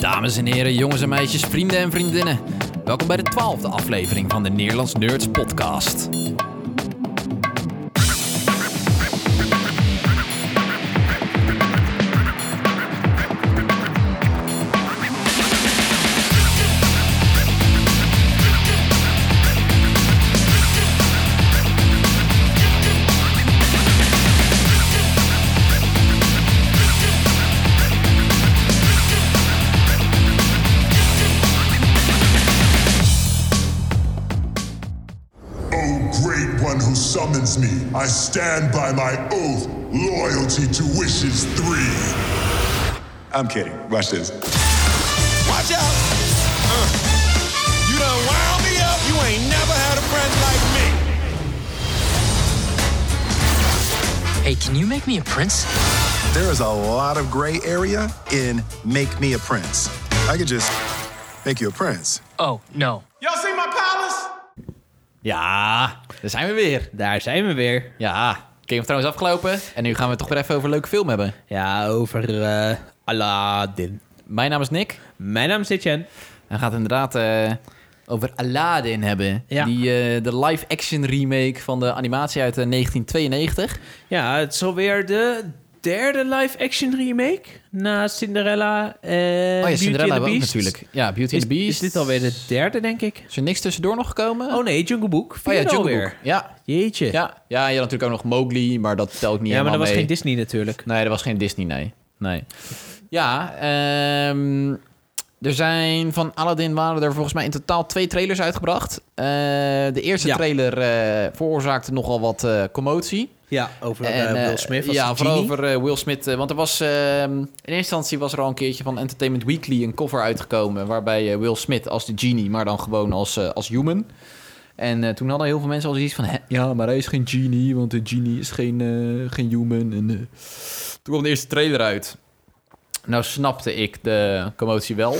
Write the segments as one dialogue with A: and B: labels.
A: Dames en heren, jongens en meisjes, vrienden en vriendinnen. Welkom bij de twaalfde aflevering van de Nederlands Nerds podcast.
B: O great one who summons me, I stand by my oath, loyalty to wishes three.
C: I'm kidding. Watch this.
D: Watch out. Uh, you done wound me up. You ain't never had a friend like me.
E: Hey, can you make me a prince?
F: There is a lot of gray area in Make Me a Prince. I could just make you a prince.
E: Oh, no.
D: Y'all see my palace?
A: Ja, daar zijn we weer.
G: Daar zijn we weer.
A: Ja, Game of Thrones afgelopen en nu gaan we het toch weer even over een leuke film hebben.
G: Ja, over eh, Aladdin.
A: Mijn naam is Nick
G: Mijn naam is Etienne.
A: en gaat inderdaad eh, over Aladdin hebben.
G: Ja.
A: Die, eh, de live-action remake van de animatie uit eh, 1992.
G: Ja, het is alweer de derde live-action remake na Cinderella en
A: oh ja,
G: Beauty
A: Cinderella
G: and
A: hebben we
G: the
A: ook
G: Beast.
A: natuurlijk. Ja, Beauty
G: Is,
A: and the Beast.
G: is dit alweer de derde, denk ik?
A: Is er niks tussendoor nog gekomen?
G: Oh nee, Jungle Book.
A: Oh ja,
G: Vierde
A: Jungle
G: alweer.
A: Book. Ja,
G: Jeetje. Ja,
A: Ja, ja, je had natuurlijk ook nog Mowgli, maar dat telt niet
G: maar
A: helemaal
G: dat was
A: mee.
G: geen Disney natuurlijk.
A: Nee, dat was geen Disney, nee. nee. Ja, ehm, er zijn van Aladdin waren er volgens mij in totaal twee trailers uitgebracht. Eh, de eerste
G: Ja.
A: trailer eh, veroorzaakte nogal wat eh, commotie.
G: Ja, over
A: En,
G: eh,
A: eh,
G: Will Smith als
A: ja,
G: de
A: vooral
G: genie.
A: over eh, Will Smith. eh, want er was, ehm, in eerste instantie was er al een keertje van Entertainment Weekly een cover uitgekomen... waarbij eh, Will Smith als de genie, maar dan gewoon als, eh, als human... En eh, toen hadden heel veel mensen al zoiets van... "Hè, Ja, maar hij is geen genie, want de genie is geen, eh, geen human. En, eh, Toen kwam de eerste trailer uit. Nou snapte ik de commotie wel.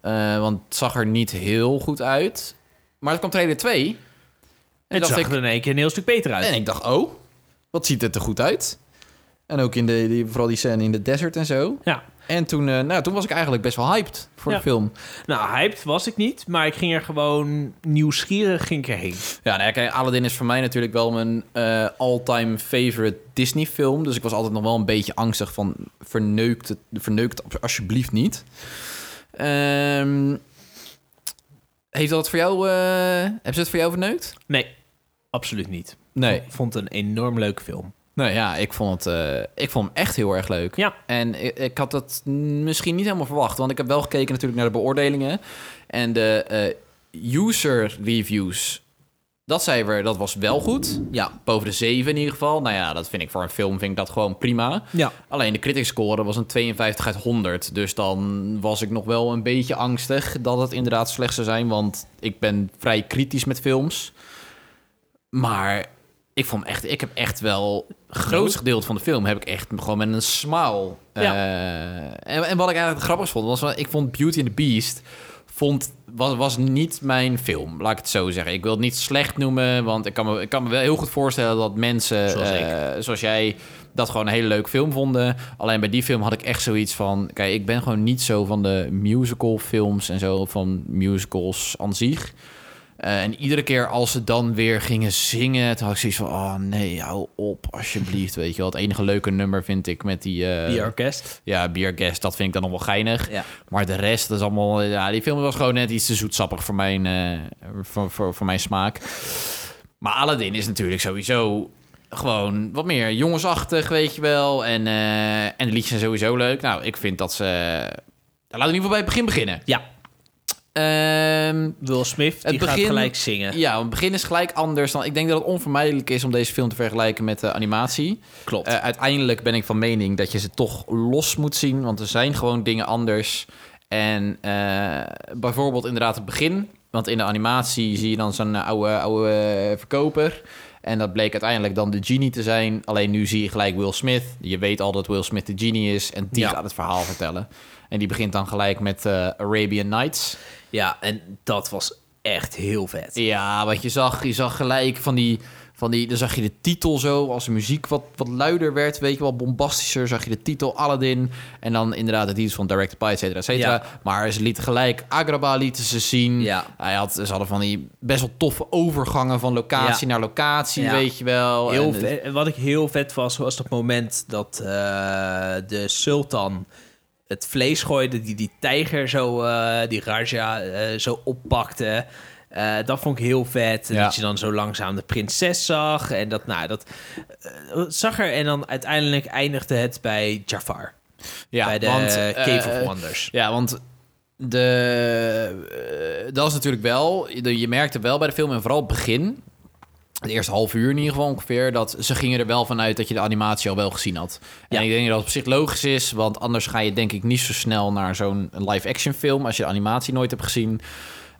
A: Eh, want het zag er niet heel goed uit. Maar er kwam trailer 2. En toen
G: Het
A: dacht
G: zag
A: ik,
G: er in één keer een heel stuk beter uit.
A: en ik dacht, oh, wat ziet het er goed uit. En ook in de, die, vooral die scène in de desert en zo.
G: Ja.
A: En toen, eh, nou, toen was ik eigenlijk best wel hyped voor
G: Ja.
A: de film.
G: Nou, hyped was ik niet, maar ik ging er gewoon nieuwsgierig ging ik erheen.
A: Ja, nou ja, kijk, Aladdin is voor mij natuurlijk wel mijn eh, all-time favorite Disney-film. Dus ik was altijd nog wel een beetje angstig van verneukt, het, verneukt het alsjeblieft niet. Ehm, heeft dat voor jou, eh hebben ze het voor jou verneukt?
G: Nee, absoluut niet.
A: Nee.
G: Ik vond het een enorm leuke film.
A: Nou ja, ik vond, het, eh, ik vond hem echt heel erg leuk.
G: Ja.
A: En i- ik, had dat misschien niet helemaal verwacht. Want ik heb wel gekeken natuurlijk naar de beoordelingen. En de eh, user reviews, dat cijfer, dat was wel goed. Ja, boven de 7 in ieder geval. Nou ja, dat vind ik voor een film vind ik dat gewoon prima.
G: Ja.
A: Alleen de critic score was een 52 uit 100. Dus dan was ik nog wel een beetje angstig dat het inderdaad slecht zou zijn. Want ik ben vrij kritisch met films. Maar ik vond hem echt, ik heb echt wel het grootste gedeelte van de film heb ik echt gewoon met een smile.
G: Ja.
A: eh, en, en wat ik eigenlijk grappig vond was, ik vond Beauty and the Beast vond was, was niet mijn film, laat ik het zo zeggen. Ik wil het niet slecht noemen, want ik kan me, ik kan me wel heel goed voorstellen dat mensen
G: Zoals ik.
A: eh, zoals jij dat gewoon een hele leuke film vonden. Alleen bij die film had ik echt zoiets van... Kijk, ik ben gewoon niet zo van de musical films en zo... van musicals aan zich. Eh, en iedere keer als ze dan weer gingen zingen... toen had ik zoiets van... oh nee, hou op, alsjeblieft, weet je wel. Het enige leuke nummer vind ik met die... eh,
G: Die orkest.
A: ja, Beer Guest, dat vind ik dan nog wel geinig.
G: Ja.
A: Maar de rest, dat is allemaal... Ja, die film was gewoon net iets te zoetsappig voor mijn, eh, voor, voor, voor mijn smaak. Maar Aladdin is natuurlijk sowieso gewoon wat meer jongensachtig, weet je wel. En, eh, en de liedjes zijn sowieso leuk. Nou, ik vind dat ze... Laten we in ieder geval bij het begin beginnen.
G: Ja,
A: Ehm,
G: Will Smith, die gaat gelijk zingen.
A: Ja, want het begin is gelijk anders dan. Ik denk dat het onvermijdelijk is om deze film te vergelijken met de animatie.
G: Klopt.
A: Eh, uiteindelijk ben ik van mening dat je ze toch los moet zien, want er zijn gewoon dingen anders. En eh, bijvoorbeeld inderdaad het begin, want in de animatie zie je dan zo'n eh, oude, oude eh, verkoper. En dat bleek uiteindelijk dan de genie te zijn. Alleen nu zie je gelijk Will Smith. Je weet al dat Will Smith de genie is. En die
G: Ja.
A: gaat het verhaal vertellen. En die begint dan gelijk met eh, Arabian Nights.
G: Ja, en dat was echt heel vet.
A: Ja, want je zag, je zag gelijk van die, Van die, dan zag je de titel zo, als de muziek wat, wat luider werd, weet je wel, bombastischer, zag je de titel Aladdin. En dan inderdaad de titels van Directed by, et cetera, et cetera.
H: Ja.
A: Maar ze lieten gelijk Agrabah lieten ze zien.
H: Ja.
A: Hij had, ze hadden van die best wel toffe overgangen van locatie
H: Ja.
A: naar locatie,
H: Ja.
A: weet je wel.
H: Heel
A: En-
H: vet- en wat ik heel vet was, was dat moment dat eh, de sultan het vlees gooide, die die tijger zo, eh, die Raja eh, zo oppakte. Eh, dat vond ik heel vet. En
A: Ja.
H: dat je dan zo langzaam de prinses zag. En dat, nou, dat eh, zag er. En dan uiteindelijk eindigde het bij Jafar.
A: Ja,
H: bij de eh,
A: eh,
H: Cave of Wonders.
A: Ja, want de, eh, dat is natuurlijk wel... Je, je merkte wel bij de film, en vooral het begin... Het eerste half uur in ieder geval ongeveer... dat ze gingen er wel vanuit dat je de animatie al wel gezien had. En
H: Ja.
A: ik denk dat dat op zich logisch is... want anders ga je denk ik niet zo snel naar zo'n live-action film... als je de animatie nooit hebt gezien.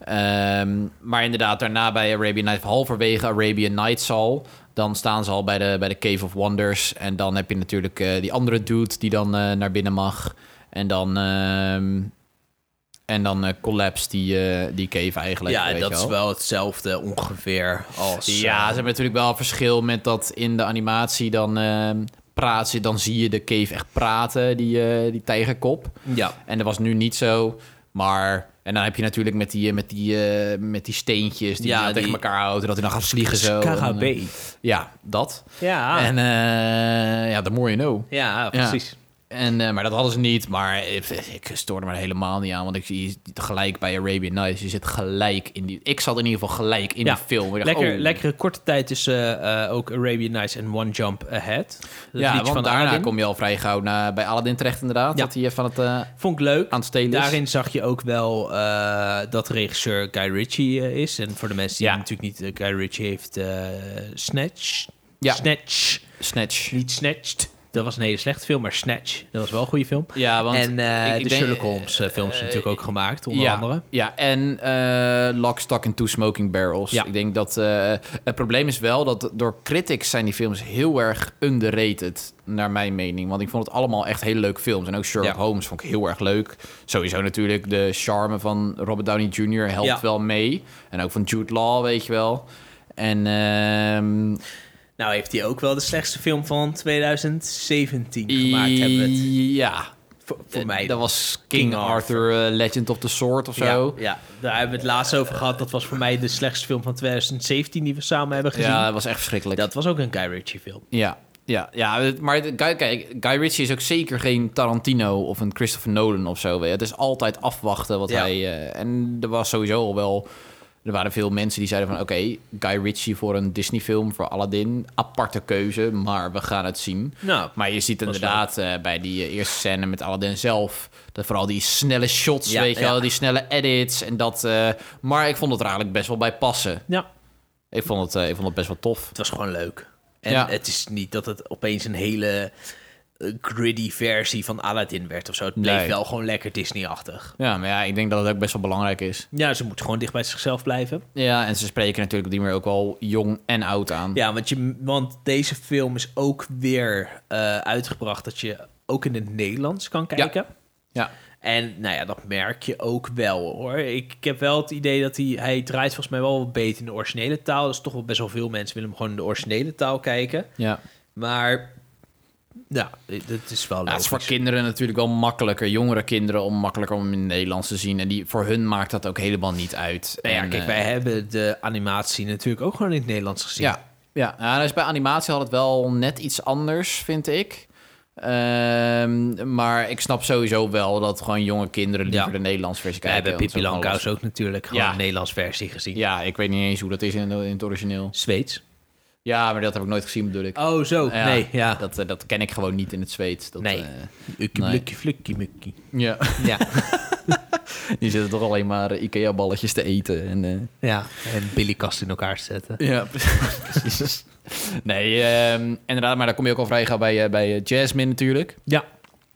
A: Ehm, maar inderdaad, daarna bij Arabian Nights... halverwege Arabian Nights al... dan staan ze al bij de, bij de Cave of Wonders... en dan heb je natuurlijk eh, die andere dude... die dan eh, naar binnen mag... En dan, ehm, en dan eh, collapse die, eh, die cave eigenlijk.
H: ja,
A: weet
H: dat
A: je
H: is wel hetzelfde ongeveer als...
A: Ja, ze
H: eh,
A: hebben natuurlijk wel een verschil met dat in de animatie dan ehm praat ze, dan zie je de cave echt praten, die, eh, die tijgerkop.
H: ja.
A: En dat was nu niet zo, maar... En dan heb je natuurlijk met die, eh, met die, eh, met die steentjes die,
H: Ja,
A: hij dan tegen
H: die-
A: elkaar houdt... en dat hij dan gaat vliegen zo. En, eh,
G: Scarabee.
A: ja, dat.
H: Ja.
A: En eh, ja, the more you know.
H: ja, precies.
A: En, eh, maar dat hadden ze niet. Maar ik, ik stoorde me er helemaal niet aan. Want ik zie gelijk bij Arabian Nights. Je zit gelijk in die... Ik zat in ieder geval gelijk in die film. Ik dacht,
H: lekker,
A: oh.
H: lekkere korte tijd tussen eh, ook Arabian Nights en One Jump Ahead. Dat
A: Ja,
H: liedje
A: want daarna
H: Aladdin.
A: kom je al vrij gauw naar, bij Aladdin terecht inderdaad.
H: Ja.
A: Dat hij eh, van het... eh,
H: Vond ik leuk.
A: aan het stelen is.
H: Daarin zag je ook wel eh, dat regisseur Guy Ritchie eh, is. En voor de mensen die
A: Ja.
H: natuurlijk niet... eh, Guy Ritchie heeft eh, Snatch.
A: Ja.
H: Snatch.
A: Snatch.
H: Niet Snatched. Dat was een hele slechte film, maar Snatch. Dat was wel een goede film.
A: Ja, want
H: en eh,
A: ik- ik
H: de
A: denk-
H: Sherlock Holmes eh, films natuurlijk ook gemaakt, onder
A: ja,
H: andere.
A: Ja, en eh Lock, Stock and Two Smoking Barrels.
H: Ja.
A: Ik denk dat... eh, het probleem is wel dat door critics zijn die films heel erg underrated, naar mijn mening. Want ik vond het allemaal echt hele leuke films. En ook Sherlock
H: Ja.
A: Holmes vond ik heel erg leuk. Sowieso natuurlijk de charme van Robert Downey Jr. helpt
H: Ja.
A: wel mee. En ook van Jude Law, weet je wel. En ehm,
H: Nou heeft hij ook wel de slechtste film van 2017 gemaakt, hebben we het.
A: Ja.
H: Voor, voor
A: Eh,
H: mij
A: Dat was King,
H: King
A: Arthur, eh, Legend of the Sword of
H: Ja,
A: zo.
H: Ja, daar hebben we het laatst over gehad. Dat was voor mij de slechtste film van 2017 die we samen hebben gezien.
A: Ja, dat was echt verschrikkelijk.
H: Dat was ook een Guy Ritchie film.
A: Ja, ja, ja. het- Maar het- Guy, kijk, Guy Ritchie is ook zeker geen Tarantino of een Christopher Nolan of zo. weet je. Het is altijd afwachten wat
H: Ja.
A: hij... eh, en er was sowieso al wel... Er waren veel mensen die zeiden van... Oké, Guy Ritchie voor een Disney-film, voor Aladdin. Aparte keuze, maar we gaan het zien.
H: Nou,
A: maar je ziet inderdaad eh, bij die eh, eerste scène met Aladdin zelf... Dat vooral die snelle shots,
H: Ja,
A: weet je
H: ja.
A: wel. Die snelle edits en dat... eh, maar ik vond het er eigenlijk best wel bij passen.
H: Ja.
A: Ik vond het, eh, ik vond het best wel tof.
H: Het was gewoon leuk. En
A: Ja.
H: het is niet dat het opeens een hele eh, gritty versie van Aladdin werd of zo. Het bleef
A: Nee.
H: wel gewoon lekker Disney-achtig.
A: Ja, maar ja, ik denk dat het ook best wel belangrijk is.
H: Ja, ze moet gewoon dicht bij zichzelf blijven.
A: Ja, en ze spreken natuurlijk op die manier ook wel jong en oud aan.
H: Ja, want, je, want deze film is ook weer eh, uitgebracht dat je ook in het Nederlands kan kijken.
A: Ja.
H: En nou ja, dat merk je ook wel hoor. Ik, ik heb wel het idee dat hij, hij draait volgens mij wel wat beter in de originele taal. Dus toch wel best wel veel mensen willen hem gewoon in de originele taal kijken.
A: ja.
H: Maar ja, dat is wel leuk.
A: Ja, het is voor kinderen natuurlijk wel makkelijker, jongere kinderen, om makkelijker om hem in het Nederlands te zien. En die, voor hun maakt dat ook helemaal niet uit.
H: Nou ja,
A: En,
H: kijk,
A: eh,
H: wij hebben de animatie natuurlijk ook gewoon in het Nederlands gezien.
A: Ja, ja. ja dus bij animatie had het wel net iets anders, vind ik. Ehm, maar ik snap sowieso wel dat gewoon jonge kinderen liever
H: Ja.
A: de Nederlandse versie
H: We
A: kijken.
H: hebben
A: want
H: Pippi
A: dat is gewoon
H: Langkous ook natuurlijk gewoon
A: Ja.
H: een Nederlands versie gezien.
A: lastig. Ja, ik weet niet eens hoe dat is in, in het origineel.
H: Zweeds.
A: Ja, maar dat heb ik nooit gezien, bedoel ik.
H: Oh, zo.
A: Ja,
H: nee, ja.
A: Dat, eh, dat ken ik gewoon niet in het Zweeds. Dat,
H: nee.
A: eh,
H: Ukkie,
A: nee.
H: blukkie, flukkie, mukkie.
A: ja.
H: Ja.
A: Die zitten toch alleen maar eh, IKEA-balletjes te eten. En, eh,
H: ja. En Billy Kast in elkaar zetten.
A: Ja, precies. nee, ehm, inderdaad, maar daar kom je ook al vrij gauw bij, eh, bij eh, Jasmine natuurlijk.
H: Ja.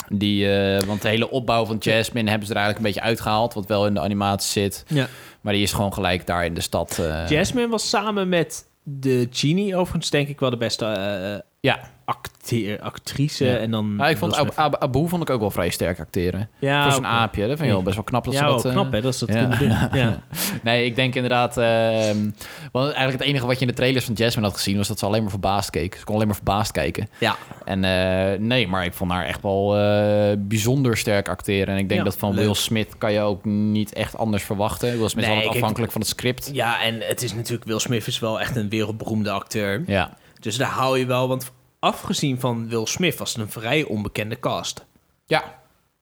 A: Die, eh, want de hele opbouw van Jasmine hebben ze er eigenlijk een beetje uitgehaald, wat wel in de animatie zit.
H: Ja.
A: Maar die is gewoon gelijk daar in de stad. eh,
H: Jasmine was samen met de Genie overigens denk ik wel de beste eh,
A: Ja.
H: acteer, actrice
A: Ja.
H: en dan...
A: Ja, ik vond
H: Will
A: Ab
H: Smith.
A: Ab- Abu vond ik ook wel vrij sterk acteren.
H: Ja,
A: Voor zo'n
H: oké.
A: aapje. Dat vind ik wel best wel knap dat ze
H: ja, wel
A: dat... eh,
H: knap hè, dat is dat
A: ja.
H: kunnen doen. Ja.
A: Nee, ik denk inderdaad... ehm, want eigenlijk het enige wat je in de trailers van Jasmine had gezien... was dat ze alleen maar verbaasd keek. Ze kon alleen maar verbaasd kijken.
H: Ja.
A: En eh, nee, maar ik vond haar echt wel eh, bijzonder sterk acteren. En ik denk
H: Ja,
A: dat van
H: leuk.
A: Will Smith kan je ook niet echt anders verwachten. Will Smith
H: Nee,
A: is altijd
H: kijk,
A: afhankelijk van het script.
H: ja, en het is natuurlijk... Will Smith is wel echt een wereldberoemde acteur.
A: Ja,
H: Dus daar hou je wel... Want afgezien van Will Smith was het een vrij onbekende cast.
A: ja.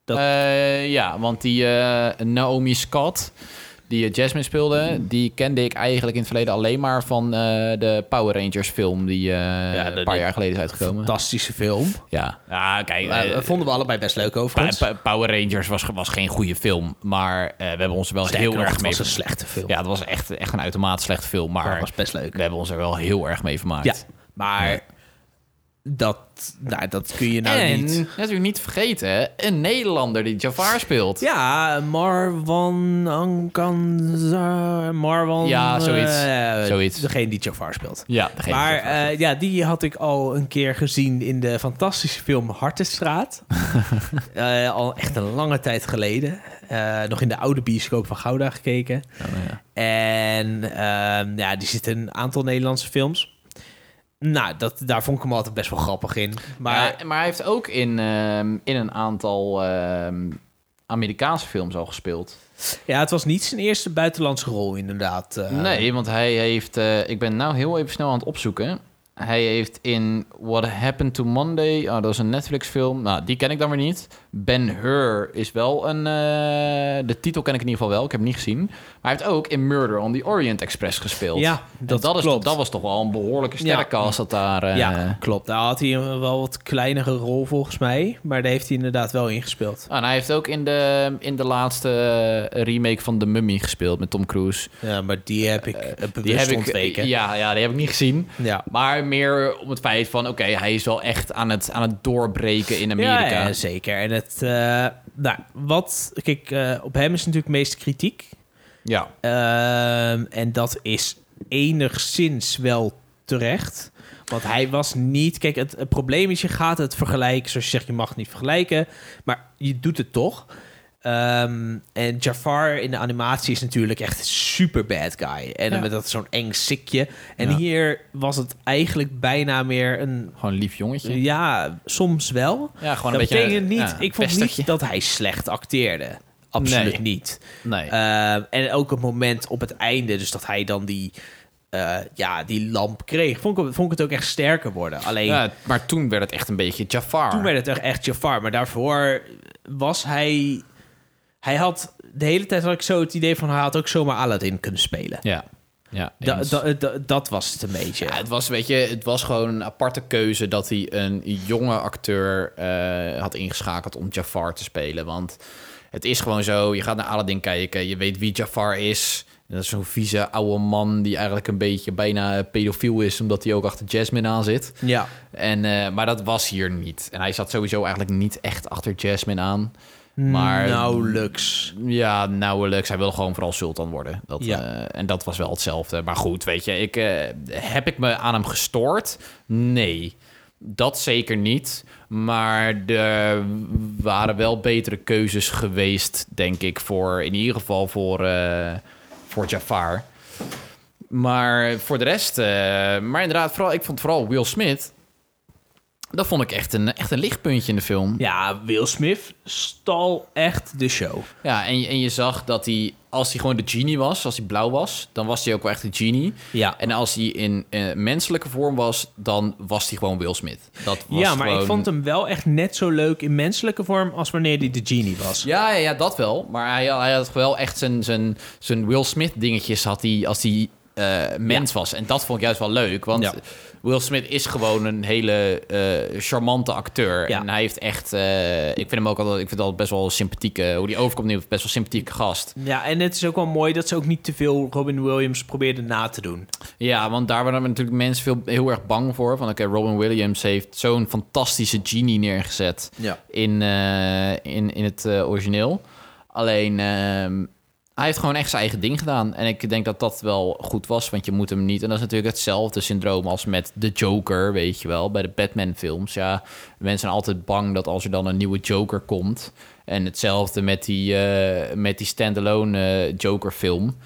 H: Dat-
A: Eh, ja want die eh, Naomi Scott, die eh, Jasmine speelde... die kende ik eigenlijk in het verleden alleen maar van eh, de Power Rangers film... die eh,
H: dat-
A: een paar jaar geleden is uitgekomen.
H: Fantastische film.
A: Ja, ja kijk...
H: Eh,
A: eh,
H: vonden we allebei best leuk
A: Pa-
H: overigens.
A: Pa- Power Rangers was, ge- was geen goede film, maar eh, we hebben ons er wel
H: Sterker
A: heel
H: nog,
A: erg
H: het
A: mee...
H: was een slechte film.
A: Ja, dat was echt, echt een uitermate slechte film, maar...
H: dat was best leuk.
A: We hebben ons er wel heel erg mee vermaakt.
H: Ja, maar dat, nou, dat kun je nou
A: en
H: niet.
A: natuurlijk niet vergeten, een Nederlander die Jafar speelt.
H: Ja, Marwan Ankanza, Marwan...
A: Ja, zoiets.
H: eh,
A: Zoiets.
H: Degene die Jafar speelt.
A: Ja, degene die
H: Maar
A: Jafar
H: eh, ja, die had ik al een keer gezien in de fantastische film Hartenstraat. Eh, al echt een lange tijd geleden. Eh, nog in de oude bioscoop van Gouda gekeken.
A: Oh,
H: En ehm, ja, die zit in een aantal Nederlandse films. Nou, dat, daar vond ik hem altijd best wel grappig in. Maar
A: Ja, eh, maar hij heeft ook in, ehm, in een aantal ehm, Amerikaanse films al gespeeld.
H: Ja, het was niet zijn eerste buitenlandse rol, inderdaad. Eh,
A: Nee, want hij heeft... eh, ik ben nou heel even snel aan het opzoeken. Hij heeft in What Happened to Monday... Oh, dat is een Netflix-film. Nou, die ken ik dan weer niet. Ben Hur is wel een... eh, de titel ken ik in ieder geval wel. Ik heb hem niet gezien. Maar hij heeft ook in Murder on the Orient Express gespeeld.
H: Ja,
A: En
H: dat
A: dat, is,
H: klopt.
A: dat was toch wel een behoorlijke
H: Ja.
A: sterrenkast dat daar... eh,
H: Ja, klopt. Daar had hij een wel wat kleinere rol volgens mij. Maar daar heeft hij inderdaad wel ingespeeld.
A: Ah, en hij heeft ook in de, in de laatste eh, remake van The Mummy gespeeld met Tom Cruise.
H: Ja, maar die heb ik eh, bewust
A: Die heb ik,
H: ontweken.
A: ja, ja, die heb ik niet gezien.
H: Ja.
A: Maar meer om het feit van, oké, hij is wel echt aan het, aan het doorbreken in Amerika.
H: Ja, ja, zeker. En het, eh, nou, wat, kijk, eh, op hem is natuurlijk de meeste kritiek.
A: Ja.
H: Ehm, en dat is enigszins wel terecht. Want hij was niet. Kijk, het, het probleem is, je gaat het vergelijken. Zoals je zegt, je mag het niet vergelijken. Maar je doet het toch. Ehm, en Jafar in de animatie is natuurlijk echt super bad guy. En dan met dat zo'n eng sikje. En
A: Ja.
H: hier was het eigenlijk bijna meer een.
A: Gewoon een lief jongetje.
H: Ja, soms wel.
A: Ja, gewoon
H: dat
A: een beetje
H: betekent
A: een-
H: niet.
A: ja,
H: ik vond
A: pestertje.
H: niet dat hij slecht acteerde. Absoluut
A: Nee.
H: niet.
A: Nee.
H: Eh, en ook het moment op het einde, dus dat hij dan die, eh, ja, die lamp kreeg, vond ik, vond ik het ook echt sterker worden. Alleen
A: Ja, maar toen werd het echt een beetje Jafar.
H: toen werd het echt, echt Jafar, maar daarvoor was hij. Hij had de hele tijd had ik zo het idee van hij had ook zomaar Aladdin kunnen spelen.
A: Ja. Ja,
H: Da-
A: eens.
H: da- da- dat was het een beetje.
A: Ja, het was, weet je, het was gewoon een aparte keuze dat hij een jonge acteur eh, had ingeschakeld om Jafar te spelen. Want het is gewoon zo, je gaat naar Aladdin kijken, je weet wie Jafar is. En dat is zo'n vieze oude man die eigenlijk een beetje bijna pedofiel is, omdat hij ook achter Jasmine aan zit.
H: Ja.
A: En, eh, maar dat was hier niet. En hij zat sowieso eigenlijk niet echt achter Jasmine aan.
H: Nou,
A: Maar
H: Nauwelijks.
A: ja, nauwelijks. Hij wil gewoon vooral sultan worden. Dat,
H: Ja.
A: eh, en dat was wel hetzelfde. Maar goed, weet je, ik, eh, heb ik me aan hem gestoord? Nee, dat zeker niet. Maar er waren wel betere keuzes geweest, denk ik, voor in ieder geval voor, eh, voor Jafar. Maar voor de rest, eh, maar inderdaad, vooral, ik vond vooral Will Smith. Dat vond ik echt een, echt een lichtpuntje in de film.
H: Ja, Will Smith stal echt de show.
A: Ja, en je, en je zag dat hij, als hij gewoon de genie was, als hij blauw was, dan was hij ook wel echt de genie.
H: Ja.
A: En als hij in eh, menselijke vorm was, dan was hij gewoon Will Smith. Dat was
H: ja, maar ik
A: gewoon-
H: vond hem wel echt net zo leuk in menselijke vorm als wanneer hij de genie was.
A: Ja, ja, ja, dat wel. Maar hij, hij had wel echt zijn, zijn, zijn Will Smith dingetjes had hij, als hij eh, mens was. En dat vond ik juist wel leuk. Want
H: Ja.
A: Will Smith is gewoon een hele eh, charmante acteur.
H: Ja.
A: En hij heeft echt... eh, ik vind hem ook altijd, ik vind het altijd best wel een sympathieke... Hoe die overkomt nu, best wel sympathieke gast.
H: Ja, en het is ook wel mooi dat ze ook niet te veel Robin Williams probeerden na te doen.
A: Ja, want daar waren natuurlijk mensen veel, heel erg bang voor. Van oké, Robin Williams heeft zo'n fantastische genie neergezet
H: Ja.
A: in, eh, in, in het eh, origineel. Alleen ehm, Hij heeft gewoon echt zijn eigen ding gedaan. En ik denk dat dat wel goed was, want je moet hem niet... En dat is natuurlijk hetzelfde syndroom als met de Joker, weet je wel. Bij de Batman-films, ja. Mensen zijn altijd bang dat als er dan een nieuwe Joker komt... En hetzelfde met die, eh, met die standalone eh, Joker-film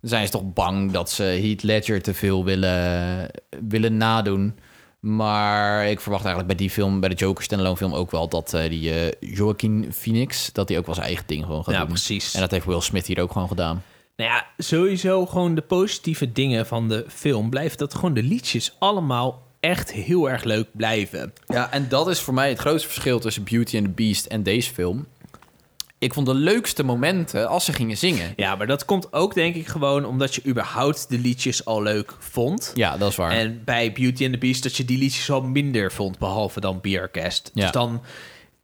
A: zijn ze toch bang dat ze Heath Ledger te veel willen, willen nadoen. Maar ik verwacht eigenlijk bij die film, bij de Joker standalone film ook wel... dat eh, die eh, Joaquin Phoenix, dat hij ook wel zijn eigen ding gewoon gaat
H: Ja,
A: doen.
H: precies.
A: En dat heeft Will Smith hier ook gewoon gedaan.
H: Nou ja, sowieso gewoon de positieve dingen van de film blijven dat gewoon de liedjes allemaal echt heel erg leuk blijven.
A: Ja, en dat is voor mij het grootste verschil tussen Beauty and the Beast en deze film. Ik vond de leukste momenten als ze gingen zingen.
H: Ja, maar dat komt ook denk ik gewoon omdat je überhaupt de liedjes al leuk vond.
A: Ja, dat is waar.
H: En bij Beauty and the Beast dat je die liedjes al minder vond, behalve dan Biercast.
A: Ja.
H: Dus dan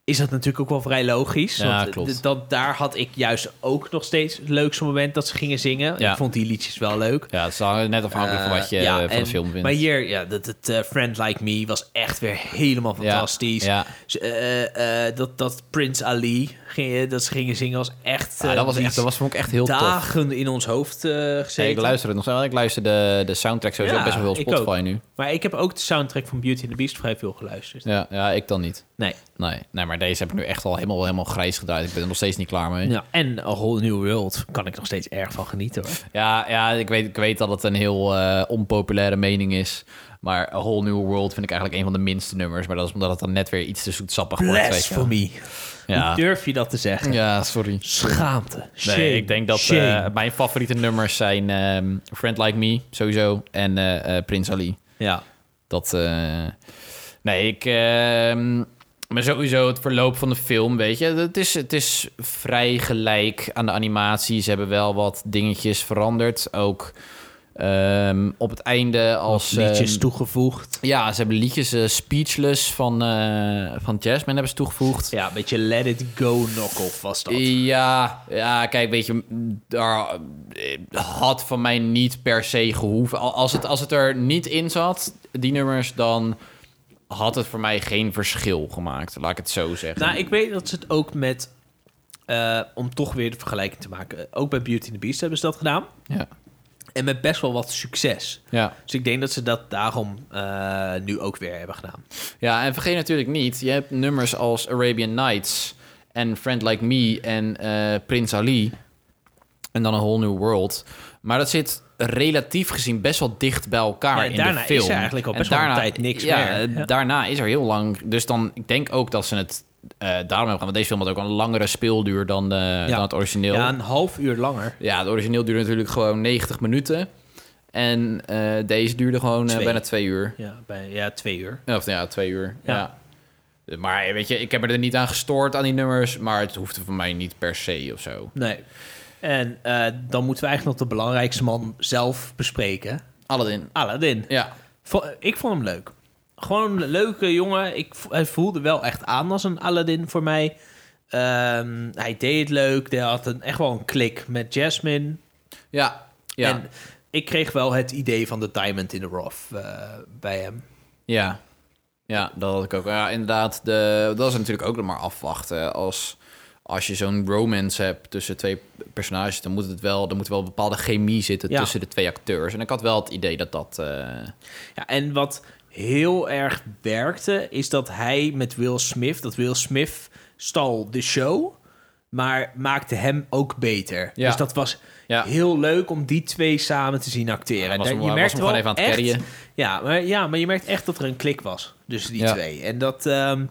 H: is dat natuurlijk ook wel vrij logisch.
A: Ja,
H: want
A: klopt.
H: d- dat, daar had ik juist ook nog steeds het leukste moment dat ze gingen zingen.
A: Ja.
H: Ik vond die liedjes wel leuk.
A: ja, het is dan net afhankelijk van wat je
H: Eh, ja,
A: eh, van
H: en-
A: de film vindt.
H: Maar hier, ja, dat, het eh, Friend Like Me was echt weer helemaal fantastisch.
A: ja.
H: Dus, eh, eh, dat, dat Prince Ali, ging, eh, dat ze gingen zingen, was echt...
A: Ja,
H: eh,
A: Ah, dat was echt,
H: iets
A: dat was, vond ik echt heel tof.
H: dagen in ons hoofd eh
A: Ja,
H: gezeten.
A: ik luister het nog steeds. Ik luister de, de soundtrack sowieso
H: Ja,
A: best wel veel op
H: ik ook.
A: Spotify nu.
H: Maar ik heb ook de soundtrack van Beauty and the Beast vrij veel geluisterd.
A: Ja, ja, ik dan niet.
H: Nee.
A: Nee, nee, maar deze heb ik nu echt al helemaal, helemaal grijs gedraaid. Ik ben er nog steeds niet klaar mee.
H: Ja, en A Whole New World kan ik nog steeds erg van genieten hoor.
A: Ja, ja ik, weet, ik weet dat het een heel eh, onpopulaire mening is. Maar A Whole New World vind ik eigenlijk een van de minste nummers. Maar dat is omdat het dan net weer iets te zoetsappig wordt. Weet je. wel.
H: Blasphemy.
A: Ja.
H: Hoe durf je dat te zeggen?
A: ja, sorry.
H: Schaamte. Shame.
A: Nee, ik denk dat
H: Shame.
A: eh, mijn favoriete nummers zijn ehm, Friend Like Me, sowieso. En eh eh, Prince Ali.
H: ja.
A: Dat. eh, nee, ik. ehm, maar sowieso het verloop van de film, weet je. Het is, het is vrij gelijk aan de animatie. Ze hebben wel wat dingetjes veranderd. Ook ehm, op het einde als...
H: Liedjes
A: ehm,
H: toegevoegd.
A: ja, ze hebben liedjes eh, Speechless van, eh van Jasmine hebben ze toegevoegd.
H: Ja, een beetje Let It Go knock-off was dat.
A: Ja, ja, kijk, weet je, daar eh, had van mij niet per se gehoeven. Al- Als het, als het er niet in zat, die nummers, dan had het voor mij geen verschil gemaakt. Laat ik het zo zeggen.
H: Nou, ik weet dat ze het ook met... eh, om toch weer de vergelijking te maken. Ook bij Beauty and the Beast hebben ze dat gedaan.
A: ja.
H: En met best wel wat succes.
A: Ja.
H: Dus ik denk dat ze dat daarom eh, nu ook weer hebben gedaan.
A: ja, en vergeet natuurlijk niet, je hebt nummers als Arabian Nights en Friend Like Me en eh Prince Ali en dan A Whole New World. Maar dat zit relatief gezien best wel dicht bij elkaar
H: Ja, en
A: in
H: daarna
A: de
H: is
A: film.
H: er eigenlijk al
A: En
H: best wel een tijd niks
A: ja,
H: meer.
A: eh, Daarna is er heel lang. Dus dan, ik denk ook dat ze het eh, daarom hebben gedaan. Want deze film had ook een langere speelduur dan, eh, dan het origineel.
H: Ja, een half uur langer.
A: Ja, het origineel duurde natuurlijk gewoon 90 minuten. En eh, deze duurde gewoon eh,
H: Twee.
A: bijna twee uur.
H: Ja, bij, ja twee uur.
A: Ja, Of nou ja, twee uur. Ja.
H: Ja.
A: Maar eh, weet je, ik heb me er niet aan gestoord aan die nummers. Maar het hoefde voor mij niet per se of zo.
H: Nee. En eh, dan moeten we eigenlijk nog de belangrijkste man zelf bespreken.
A: Aladdin.
H: Aladdin.
A: Ja.
H: Vo- eh, ik vond hem leuk. Gewoon een leuke jongen. Ik, vo- hij voelde wel echt aan als een Aladdin voor mij. Ehm, hij deed het leuk. Hij had een, echt wel een klik met Jasmine.
A: Ja. Ja.
H: En ik kreeg wel het idee van de Diamond in the Rough eh, bij hem.
A: ja. Ja, dat had ik ook. Ja, inderdaad. De, dat is natuurlijk ook nog maar afwachten. Als, als je zo'n romance hebt tussen twee personages... dan moet het wel, dan moet wel een bepaalde chemie zitten
H: Ja.
A: tussen de twee acteurs. En ik had wel het idee dat dat... eh,
H: Ja, en wat heel erg werkte, is dat hij met Will Smith, dat Will Smith stal de show, maar maakte hem ook beter.
A: Ja.
H: Dus dat was
A: Ja.
H: heel leuk om die twee samen te zien acteren.
A: Hij was
H: En
A: hem-
H: je
A: hij was
H: merkt
A: hem gewoon
H: wel
A: even aan het
H: echt-
A: carryen.
H: Ja maar, ja, maar je merkt echt dat er een klik was tussen die
A: Ja.
H: twee. En dat, ehm,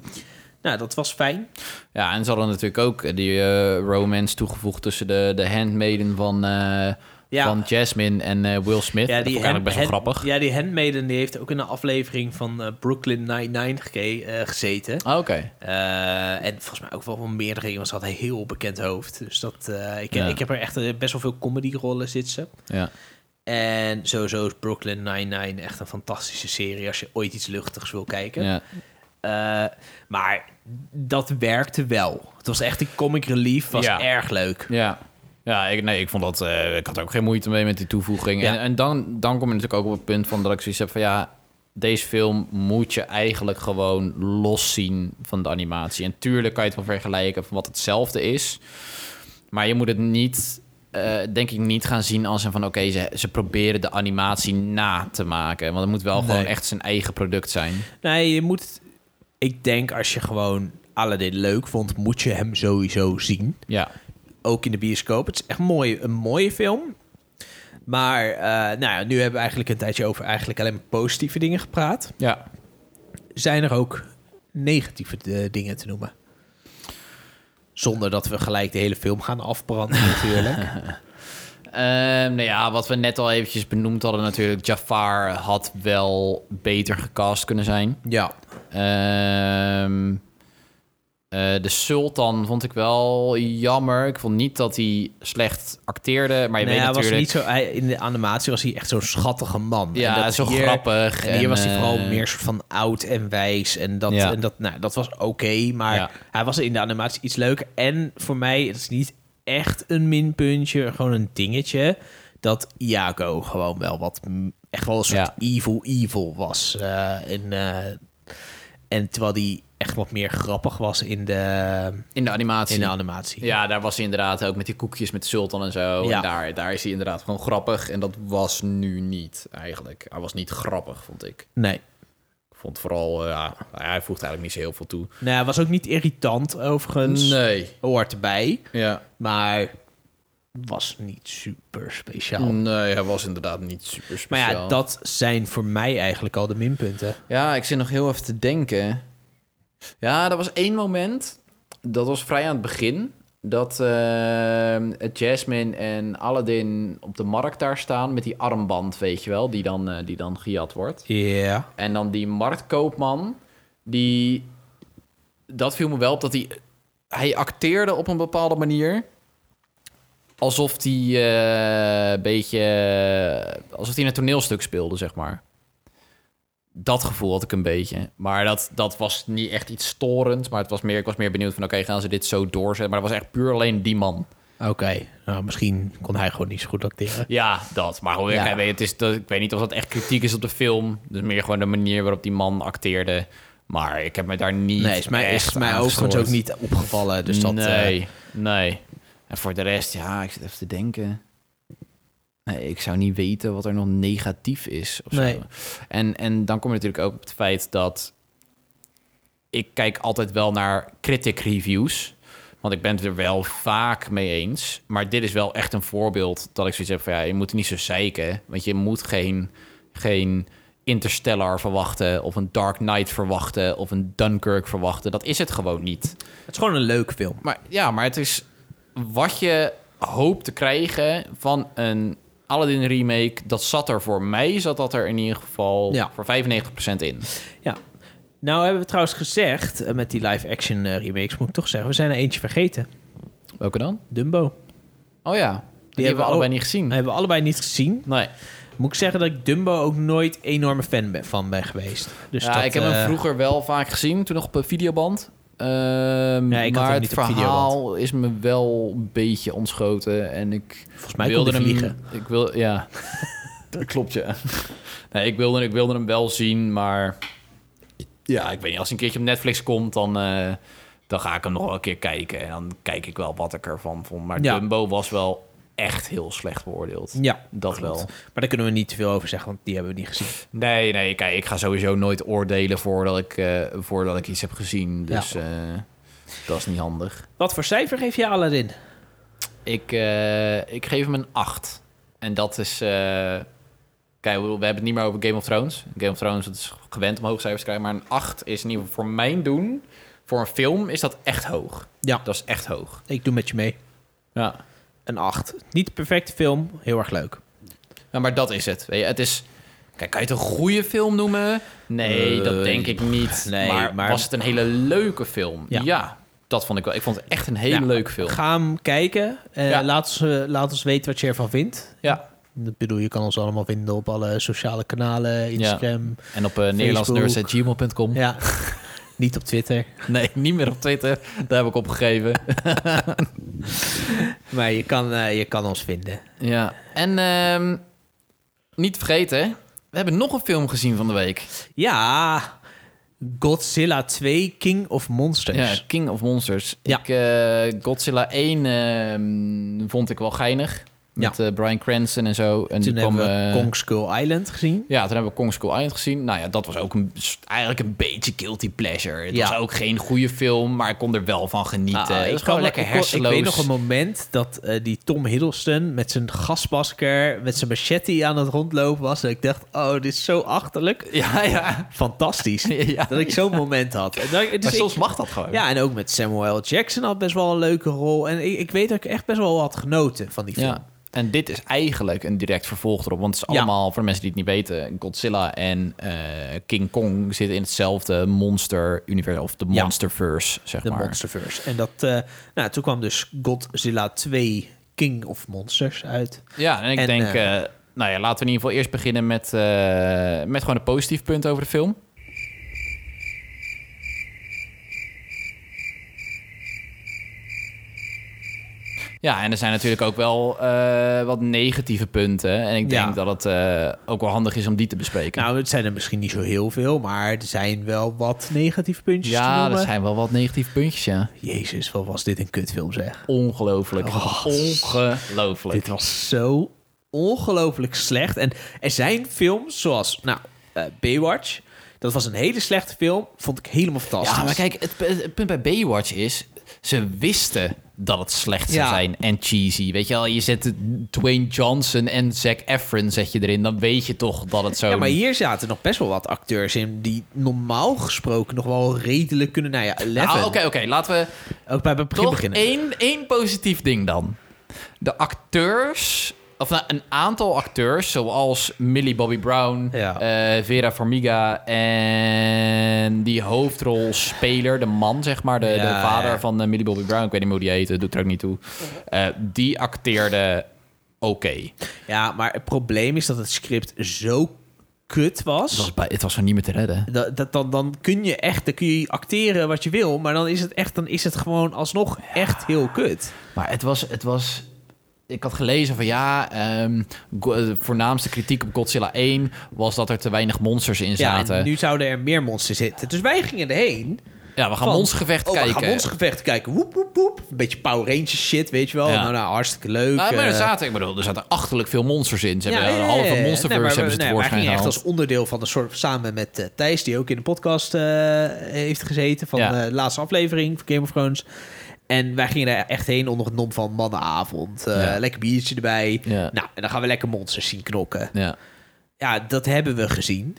H: nou, dat was fijn.
A: Ja, en ze hadden natuurlijk ook die eh, romance toegevoegd tussen de, de handmaiden van, eh,
H: Ja.
A: van Jasmine en eh, Will Smith.
H: Ja,
A: dat vond ik
H: hand-
A: eigenlijk best wel
H: hand-
A: grappig.
H: Ja, die handmaiden die heeft ook in een aflevering van eh, Brooklyn Nine-Nine geke- eh, gezeten.
A: Ah, Oké.
H: Eh, en volgens mij ook wel van meerdere dingen, want ze had een heel bekend hoofd. Dus dat, eh, ik,
A: Ja.
H: ik heb er echt eh, best wel veel comedy-rollen zitten.
A: Ja.
H: En sowieso is Brooklyn Nine-Nine echt een fantastische serie als je ooit iets luchtigs wil kijken.
A: Ja.
H: Eh, maar dat werkte wel. Het was echt een comic relief, was
A: Ja.
H: erg leuk.
A: Ja. Ja, ik, nee, ik vond dat. eh, ik had ook geen moeite mee met die toevoeging.
H: Ja.
A: En, en dan, dan kom je natuurlijk ook op het punt van dat ik zoiets heb van ja. Deze film moet je eigenlijk gewoon los zien van de animatie. En tuurlijk kan je het wel vergelijken van wat hetzelfde is. Maar je moet het niet eh, denk ik niet gaan zien als een van oké, ze, ze proberen de animatie na te maken. Want het moet wel gewoon echt zijn eigen product zijn.
H: Nee, je moet... Ik denk als je gewoon Aladdin leuk vond, moet je hem sowieso zien.
A: Ja.
H: Ook in de bioscoop. Het is echt mooi, een mooie film. Maar eh, nou ja, nu hebben we eigenlijk een tijdje over eigenlijk alleen maar positieve dingen gepraat.
A: Ja.
H: Zijn er ook negatieve eh, dingen te noemen? Zonder dat we gelijk de hele film gaan afbranden natuurlijk.
A: Ehm, nou ja, wat we net al eventjes benoemd hadden natuurlijk. Jafar had wel beter gecast kunnen zijn.
H: ja.
A: Ehm, eh, de Sultan vond ik wel jammer. Ik vond niet dat hij slecht acteerde. Maar je
H: Nou
A: weet
H: ja, hij was
A: natuurlijk...
H: niet zo, hij- in de animatie was hij echt zo'n schattige man.
A: Ja,
H: En dat
A: zo
H: hier-
A: grappig
H: En hier
A: en,
H: was hij vooral
A: eh,
H: meer soort van oud en wijs. En dat,
A: Ja.
H: en dat, nou, dat was oké, maar
A: Ja.
H: hij was in de animatie iets leuker. En voor mij, het is niet echt een minpuntje, gewoon een dingetje... dat Iago gewoon wel wat... m- echt wel een soort
A: Ja.
H: evil evil was. eh, en, eh, en terwijl hij echt wat meer grappig was in de,
A: In de animatie.
H: in de animatie.
A: Ja, daar was hij inderdaad ook met die koekjes met Sultan en zo.
H: Ja.
A: En daar, daar is hij inderdaad gewoon grappig. En dat was nu niet, eigenlijk. Hij was niet grappig, vond ik.
H: Nee.
A: Ik vond vooral, eh, ja, hij voegt eigenlijk niet zo heel veel toe.
H: Nou, hij was ook niet irritant overigens.
A: Nee.
H: Hoort erbij.
A: Ja.
H: Maar was niet super speciaal.
A: Nee, hij was inderdaad niet super
H: Oh. Maar
A: speciaal.
H: ja, dat zijn voor mij eigenlijk al de minpunten.
A: Ja, ik zit nog heel even te denken. Ja, er was één moment. Dat was vrij aan het begin. Dat eh, Jasmine en Aladdin op de markt daar staan met die armband, weet je wel, die dan, eh, die dan gejat wordt.
H: Ja.
A: En dan die marktkoopman, die... Dat viel me wel op dat hij... Hij acteerde op een bepaalde manier. Alsof hij eh, een beetje... eh, Alsof hij een toneelstuk speelde, zeg maar. Dat gevoel had ik een beetje. Maar dat, dat was niet echt iets storend. Maar het was meer, ik was meer benieuwd van... Oké, gaan ze dit zo doorzetten? Maar dat was echt puur alleen die man.
H: Oké. Nou, misschien kon hij gewoon niet zo goed acteren.
A: Ja, dat. Maar hoe,
H: Ja.
A: ik, weet, het is, dat, ik weet niet of dat echt kritiek is op de film. Dus meer gewoon de manier waarop die man acteerde. Maar ik heb me daar niet.
H: Nee, is mij,
A: echt
H: is mij
A: aan
H: overigens
A: gestoord.
H: ook niet opgevallen. Dus dat, eh,
A: nee, nee. En voor de rest, ja, ik zit even te denken. Nee, ik zou niet weten wat er nog negatief is. Of
H: Nee.
A: zo. En, en dan kom je natuurlijk ook op het feit dat... Ik kijk altijd wel naar critic reviews. Want ik ben het er wel vaak mee eens. Maar dit is wel echt een voorbeeld dat ik zoiets heb van... Ja, je moet niet zo zeiken. Want je moet geen, geen Interstellar verwachten... of een Dark Knight verwachten... of een Dunkirk verwachten. Dat is het gewoon niet.
H: het is gewoon een leuke film.
A: Maar ja, maar het is wat je hoopt te krijgen van een Aladdin remake. Dat zat er voor mij, zat dat er in ieder geval
H: Ja.
A: voor 95% in.
H: Ja. Nou hebben we trouwens gezegd, eh, met die live-action eh, remakes moet ik toch zeggen, we zijn er eentje vergeten.
A: Welke dan?
H: Dumbo.
A: Oh ja, die, hebben we
H: al-
A: allebei niet gezien.
H: Die hebben we allebei niet gezien.
A: Nee.
H: Moet ik zeggen dat ik Dumbo ook nooit enorme fan ben, van ben geweest. Dus
A: ja,
H: dat,
A: ik heb
H: eh,
A: hem vroeger wel vaak gezien, toen nog op een videoband. Ehm,
H: Ja, ik had
A: maar
H: hem
A: het
H: niet op
A: verhaal is me wel een beetje ontschoten. En ik
H: Volgens mij
A: wilde
H: kon hij
A: hem
H: vliegen.
A: Ik wil, ja, dat klopt ja. Nee, ik, wilde, ik wilde hem wel zien, maar ja, ik weet niet. Als hij een keertje op Netflix komt, dan, eh, dan ga ik hem nog wel een keer kijken. En dan kijk ik wel wat ik ervan vond. Maar
H: Ja.
A: Dumbo was wel echt heel slecht beoordeeld.
H: Ja,
A: dat
H: klopt.
A: wel.
H: Maar daar kunnen we niet te veel over zeggen, want die hebben we niet gezien.
A: Nee, nee, kijk, ik ga sowieso nooit oordelen voordat ik, eh, voordat ik iets heb gezien. Dus eh, dat is niet handig.
H: Wat voor cijfer geef je Aladdin?
A: Ik, eh, ik geef hem een 8. En dat is. eh, kijk, we we hebben het niet meer over Game of Thrones. Game of Thrones dat is gewend om hoge cijfers te krijgen. Maar een 8 is in ieder geval voor mijn doen. Voor een film is dat echt hoog.
H: Ja.
A: Dat is echt hoog.
H: Ik doe met je mee.
A: Ja.
H: Een 8. Niet de perfecte film, heel erg leuk.
A: Ja, maar dat is het. Weet je, het is. Kijk, kan je het een goede film noemen? Nee, dat denk ik niet.
H: nee,
A: maar,
H: maar-
A: was het een hele leuke film?
H: Ja.
A: Ja. dat vond ik wel. Ik vond het echt een hele
H: Ja,
A: leuke film.
H: Nou, Ga hem kijken. Eh,
A: Ja.
H: laat, ons, eh, laat ons weten wat je ervan vindt.
A: Ja.
H: Ik bedoel, je kan ons allemaal vinden op alle sociale kanalen, Instagram.
A: En op uh, nederlandsnerds.gmail.com.
H: Ja. niet op Twitter.
A: Nee, niet meer op Twitter. Daar heb ik opgegeven.
H: Maar je kan, eh, je kan ons vinden.
A: ja. En ehm, niet te vergeten, we hebben nog een film gezien van de week.
H: Ja, Godzilla 2, King of Monsters.
A: Ja, King of Monsters.
H: Ja.
A: Ik, eh, Godzilla 1 ehm, vond ik wel geinig. Met eh, Brian Cranston en zo. En
H: Toen
A: die kwam,
H: hebben we
A: eh,
H: Kong Skull Island gezien.
A: Ja, toen hebben we Kong Skull Island gezien. Nou ja, dat was ook een, eigenlijk een beetje guilty pleasure. Het
H: Ja.
A: was ook geen goede film, maar ik kon er wel van genieten.
H: Ah,
A: het was
H: ik
A: eh, gewoon
H: kan-
A: lekker
H: ik kon-
A: hersenloos.
H: Ik weet nog een moment dat eh, die Tom Hiddleston met zijn gasmasker, met zijn machete aan het rondlopen was. En ik dacht, oh, dit is zo achterlijk.
A: Ja, ja.
H: Fantastisch.
A: Ja,
H: dat ik zo'n moment had. En dat- dus
A: maar soms
H: ik-
A: mag dat gewoon.
H: Ja, en ook met Samuel L. Jackson had best wel een leuke rol. En ik, ik weet dat ik echt best wel had genoten van die film.
A: Ja. En dit is eigenlijk een direct vervolg erop. Want het is
H: Ja.
A: allemaal, voor de mensen die het niet weten... Godzilla en eh, King Kong zitten in hetzelfde monster-universum... of de
H: Ja.
A: monsterverse, zeg
H: De
A: maar.
H: Monsterverse. En dat, eh, nou, toen kwam dus Godzilla 2 King of Monsters uit.
A: Ja, en ik
H: En,
A: denk...
H: eh,
A: eh, nou ja, laten we in ieder geval eerst beginnen met, eh, met gewoon een positief punt over de film. Ja, en er zijn natuurlijk ook wel eh, wat negatieve punten. En ik denk
H: Ja.
A: dat het eh, ook wel handig is om die te bespreken.
H: Nou, het zijn er misschien niet zo heel veel, maar er zijn wel wat negatieve puntjes te
A: ja,
H: noemen.
A: er zijn wel wat negatieve puntjes, ja.
H: Jezus, wat was dit een kutfilm zeg.
A: Ongelooflijk. Ongelooflijk.
H: Oh, Dit was zo ongelooflijk slecht. En er zijn films zoals, nou, eh, Baywatch. Dat was een hele slechte film. Vond ik helemaal fantastisch.
A: Ja, maar kijk, het, het punt bij Baywatch is... ze wisten dat het slecht zou
H: Ja.
A: zijn en cheesy. Weet je wel, je zet Dwayne Johnson en Zac Efron zet je erin... dan weet je toch dat het zo...
H: Ja, maar hier zaten nog best wel wat acteurs in die normaal gesproken nog wel redelijk kunnen. Nou ja,
A: Ah,
H: Eleven.
A: Oké, oké, laten we
H: Ook bij het begin
A: toch
H: beginnen.
A: één, één positief ding dan. De acteurs... Of nou, een aantal acteurs, zoals Millie Bobby Brown,
H: Ja.
A: eh, Vera Farmiga en die hoofdrolspeler, de man zeg maar, de, de
H: Ja,
A: vader
H: ja.
A: van eh, Millie Bobby Brown, ik weet niet meer hoe die heette, doet er ook niet toe. Eh, die acteerde oké.
H: Ja, maar het probleem is dat het script zo kut was.
A: Het was bij- Het was gewoon niet meer te redden.
H: Dat, dat, dan, dan kun je echt, dan kun je acteren wat je wil, maar dan is het echt, dan is het gewoon alsnog echt heel kut.
A: Maar het was, het was. Ik had gelezen van ja, ehm, go- de voornaamste kritiek op Godzilla 1 was dat er te weinig monsters in
H: Ja,
A: zaten. Ja,
H: en nu zouden er meer monsters zitten. Dus wij gingen erheen.
A: we gaan monstergevecht
H: oh,
A: kijken.
H: We gaan monstergevecht kijken. Woep, woep, woep. Een beetje Power Rangers shit, weet je wel.
A: Ja.
H: Nou, nou, hartstikke leuk.
A: Nou, maar er
H: eh.
A: zaten, ik bedoel, er zaten achterlijk veel monsters in. Ze hebben
H: ja,
A: een
H: ja, ja,
A: halve
H: ja.
A: monsterverse
H: Nee, maar
A: hebben
H: we-
A: ze
H: nee, wij
A: tevoorschijn
H: gingen echt
A: gehaald.
H: als onderdeel van de soort samen met eh, Thijs, die ook in de podcast eh, heeft gezeten van
A: Ja.
H: eh, de laatste aflevering van Game of Thrones. En wij gingen daar echt heen onder het nom van mannenavond. Eh,
A: Ja.
H: Lekker biertje erbij.
A: Ja.
H: Nou, en dan gaan we lekker monsters zien knokken.
A: Ja,
H: Ja, dat hebben we gezien.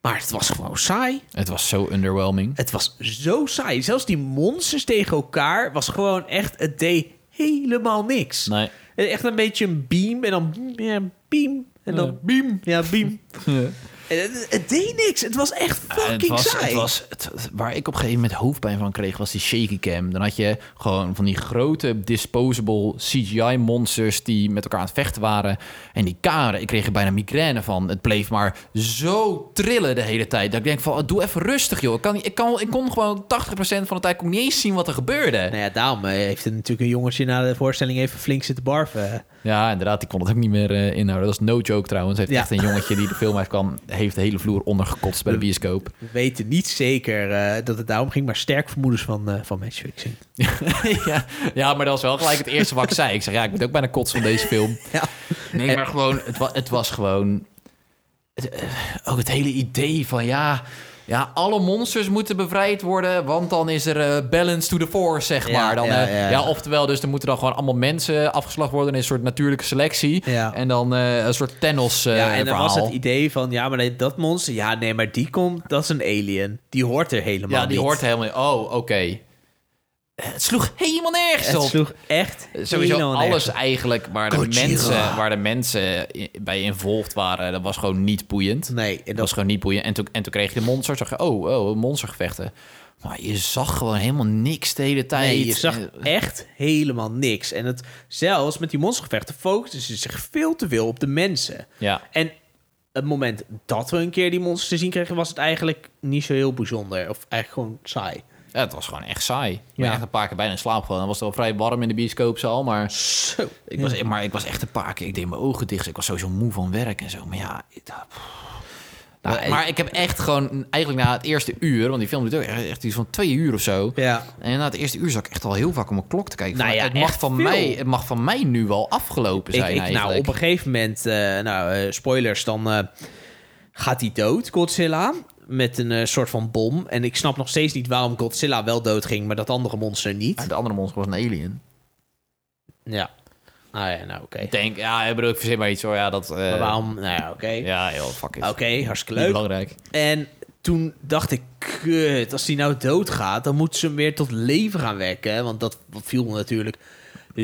H: Maar het was gewoon saai.
A: het was zo underwhelming.
H: Het was zo saai. Zelfs die monsters tegen elkaar was gewoon echt... Het deed helemaal niks. Eh,
A: Nee.
H: Echt een beetje een beam en dan ja, beam. En dan beam. Ja, beam. Het, het deed niks. Het was echt fucking
A: Eh, het was,
H: saai.
A: het was het- het- waar ik op een gegeven moment hoofdpijn van kreeg, was die shaky cam. Dan had je gewoon van die grote disposable CGI monsters die met elkaar aan het vechten waren. En die karen, ik kreeg er bijna migraine van. Het bleef maar zo trillen de hele tijd. Dat ik denk van, oh, doe even rustig joh. Ik, kan, niet- ik, kan, ik kon gewoon 80% van de tijd kon ik niet eens zien wat er gebeurde.
H: Nou ja, daarom eh, heeft het natuurlijk een jongetje na de voorstelling even flink zitten barven. Eh,
A: Ja, inderdaad, die kon het ook niet meer eh, inhouden. Dat is no joke trouwens. Heeft
H: Ja.
A: echt een jongetje die de film heeft kan, heeft de hele vloer ondergekotst bij de bioscoop.
H: We weten niet zeker eh, dat het daarom ging, maar sterk vermoedens van, eh van matchfixing.
A: ja, ja, maar dat was wel gelijk het eerste wat ik zei. Ik zeg, ja, ik moet ook bijna kotsen van deze film.
H: Ja.
A: Nee, maar gewoon, het, wa- het was gewoon... het, eh, ook het hele idee van, ja... Ja, alle monsters moeten bevrijd worden, want dan is er eh, balance to the force, zeg
H: Ja,
A: maar. Dan,
H: ja,
A: eh,
H: ja.
A: ja, oftewel, dus er moeten dan gewoon allemaal mensen afgeslacht worden in een soort natuurlijke selectie.
H: Ja.
A: En dan eh, een soort Thanos eh
H: ja, en dan
A: verhaal.
H: was het idee van, ja, maar nee, dat monster, ja, nee, maar die komt, dat is een alien. Die hoort er helemaal
A: Ja, die
H: niet.
A: hoort helemaal niet. Oh, oké. Het sloeg helemaal nergens
H: Het
A: op.
H: sloeg echt
A: Sowieso
H: helemaal
A: alles
H: nergens.
A: eigenlijk waar de,
H: Gojira.
A: mensen, waar de mensen i- bij involved waren, dat was gewoon niet boeiend.
H: Nee, en
A: dat
H: dat-
A: was gewoon niet boeiend. En toen, en toen kreeg je de monster, zag je, oh, oh, monstergevechten. Maar je zag gewoon helemaal niks de hele tijd.
H: Nee, je zag
A: Eh,
H: echt helemaal niks. En het, zelfs met die monstergevechten focussen ze zich veel te veel op de mensen.
A: Ja.
H: En het moment dat we een keer die monsters te zien kregen... was het eigenlijk niet zo heel bijzonder. Of eigenlijk gewoon saai.
A: Ja, het was gewoon echt saai. Ik ben
H: Ja.
A: echt een paar keer bijna in slaap gevallen. Het was wel vrij warm in de bioscoopzaal, maar... Ik was, dus maar ik was echt een paar keer... Ik deed mijn ogen dicht. Ik was sowieso moe van werk en zo. Maar ja, ik dacht, pff. Nou,
H: Maar ik-
A: maar ik heb echt gewoon, eigenlijk na het eerste uur, want die film duurt ook echt, echt iets van twee uur of zo.
H: Ja.
A: En na het eerste uur zat ik echt al heel vaak op mijn klok te kijken.
H: Nou
A: van,
H: ja,
A: het, mag
H: echt
A: van
H: veel.
A: mij, het mag van mij nu al afgelopen zijn
H: ik, ik, nou,
A: eigenlijk.
H: op een gegeven moment, eh, nou, eh, spoilers, dan eh, gaat hij dood, Godzilla, met een eh, soort van bom. En ik snap nog steeds niet waarom Godzilla wel dood ging, maar dat andere monster niet.
A: De andere monster was een alien.
H: Ja. Nou ja, nou oké.
A: Ik denk, ja, ik bedoel, ik verzin maar iets hoor. Ja, dat... eh,
H: Maar waarom? Nou ja, oké.
A: Ja, joh, fuck it.
H: Oké, hartstikke leuk.
A: belangrijk.
H: En toen dacht ik, kut, als die nou doodgaat, dan moet ze hem weer tot leven gaan wekken. hè, Want dat viel me natuurlijk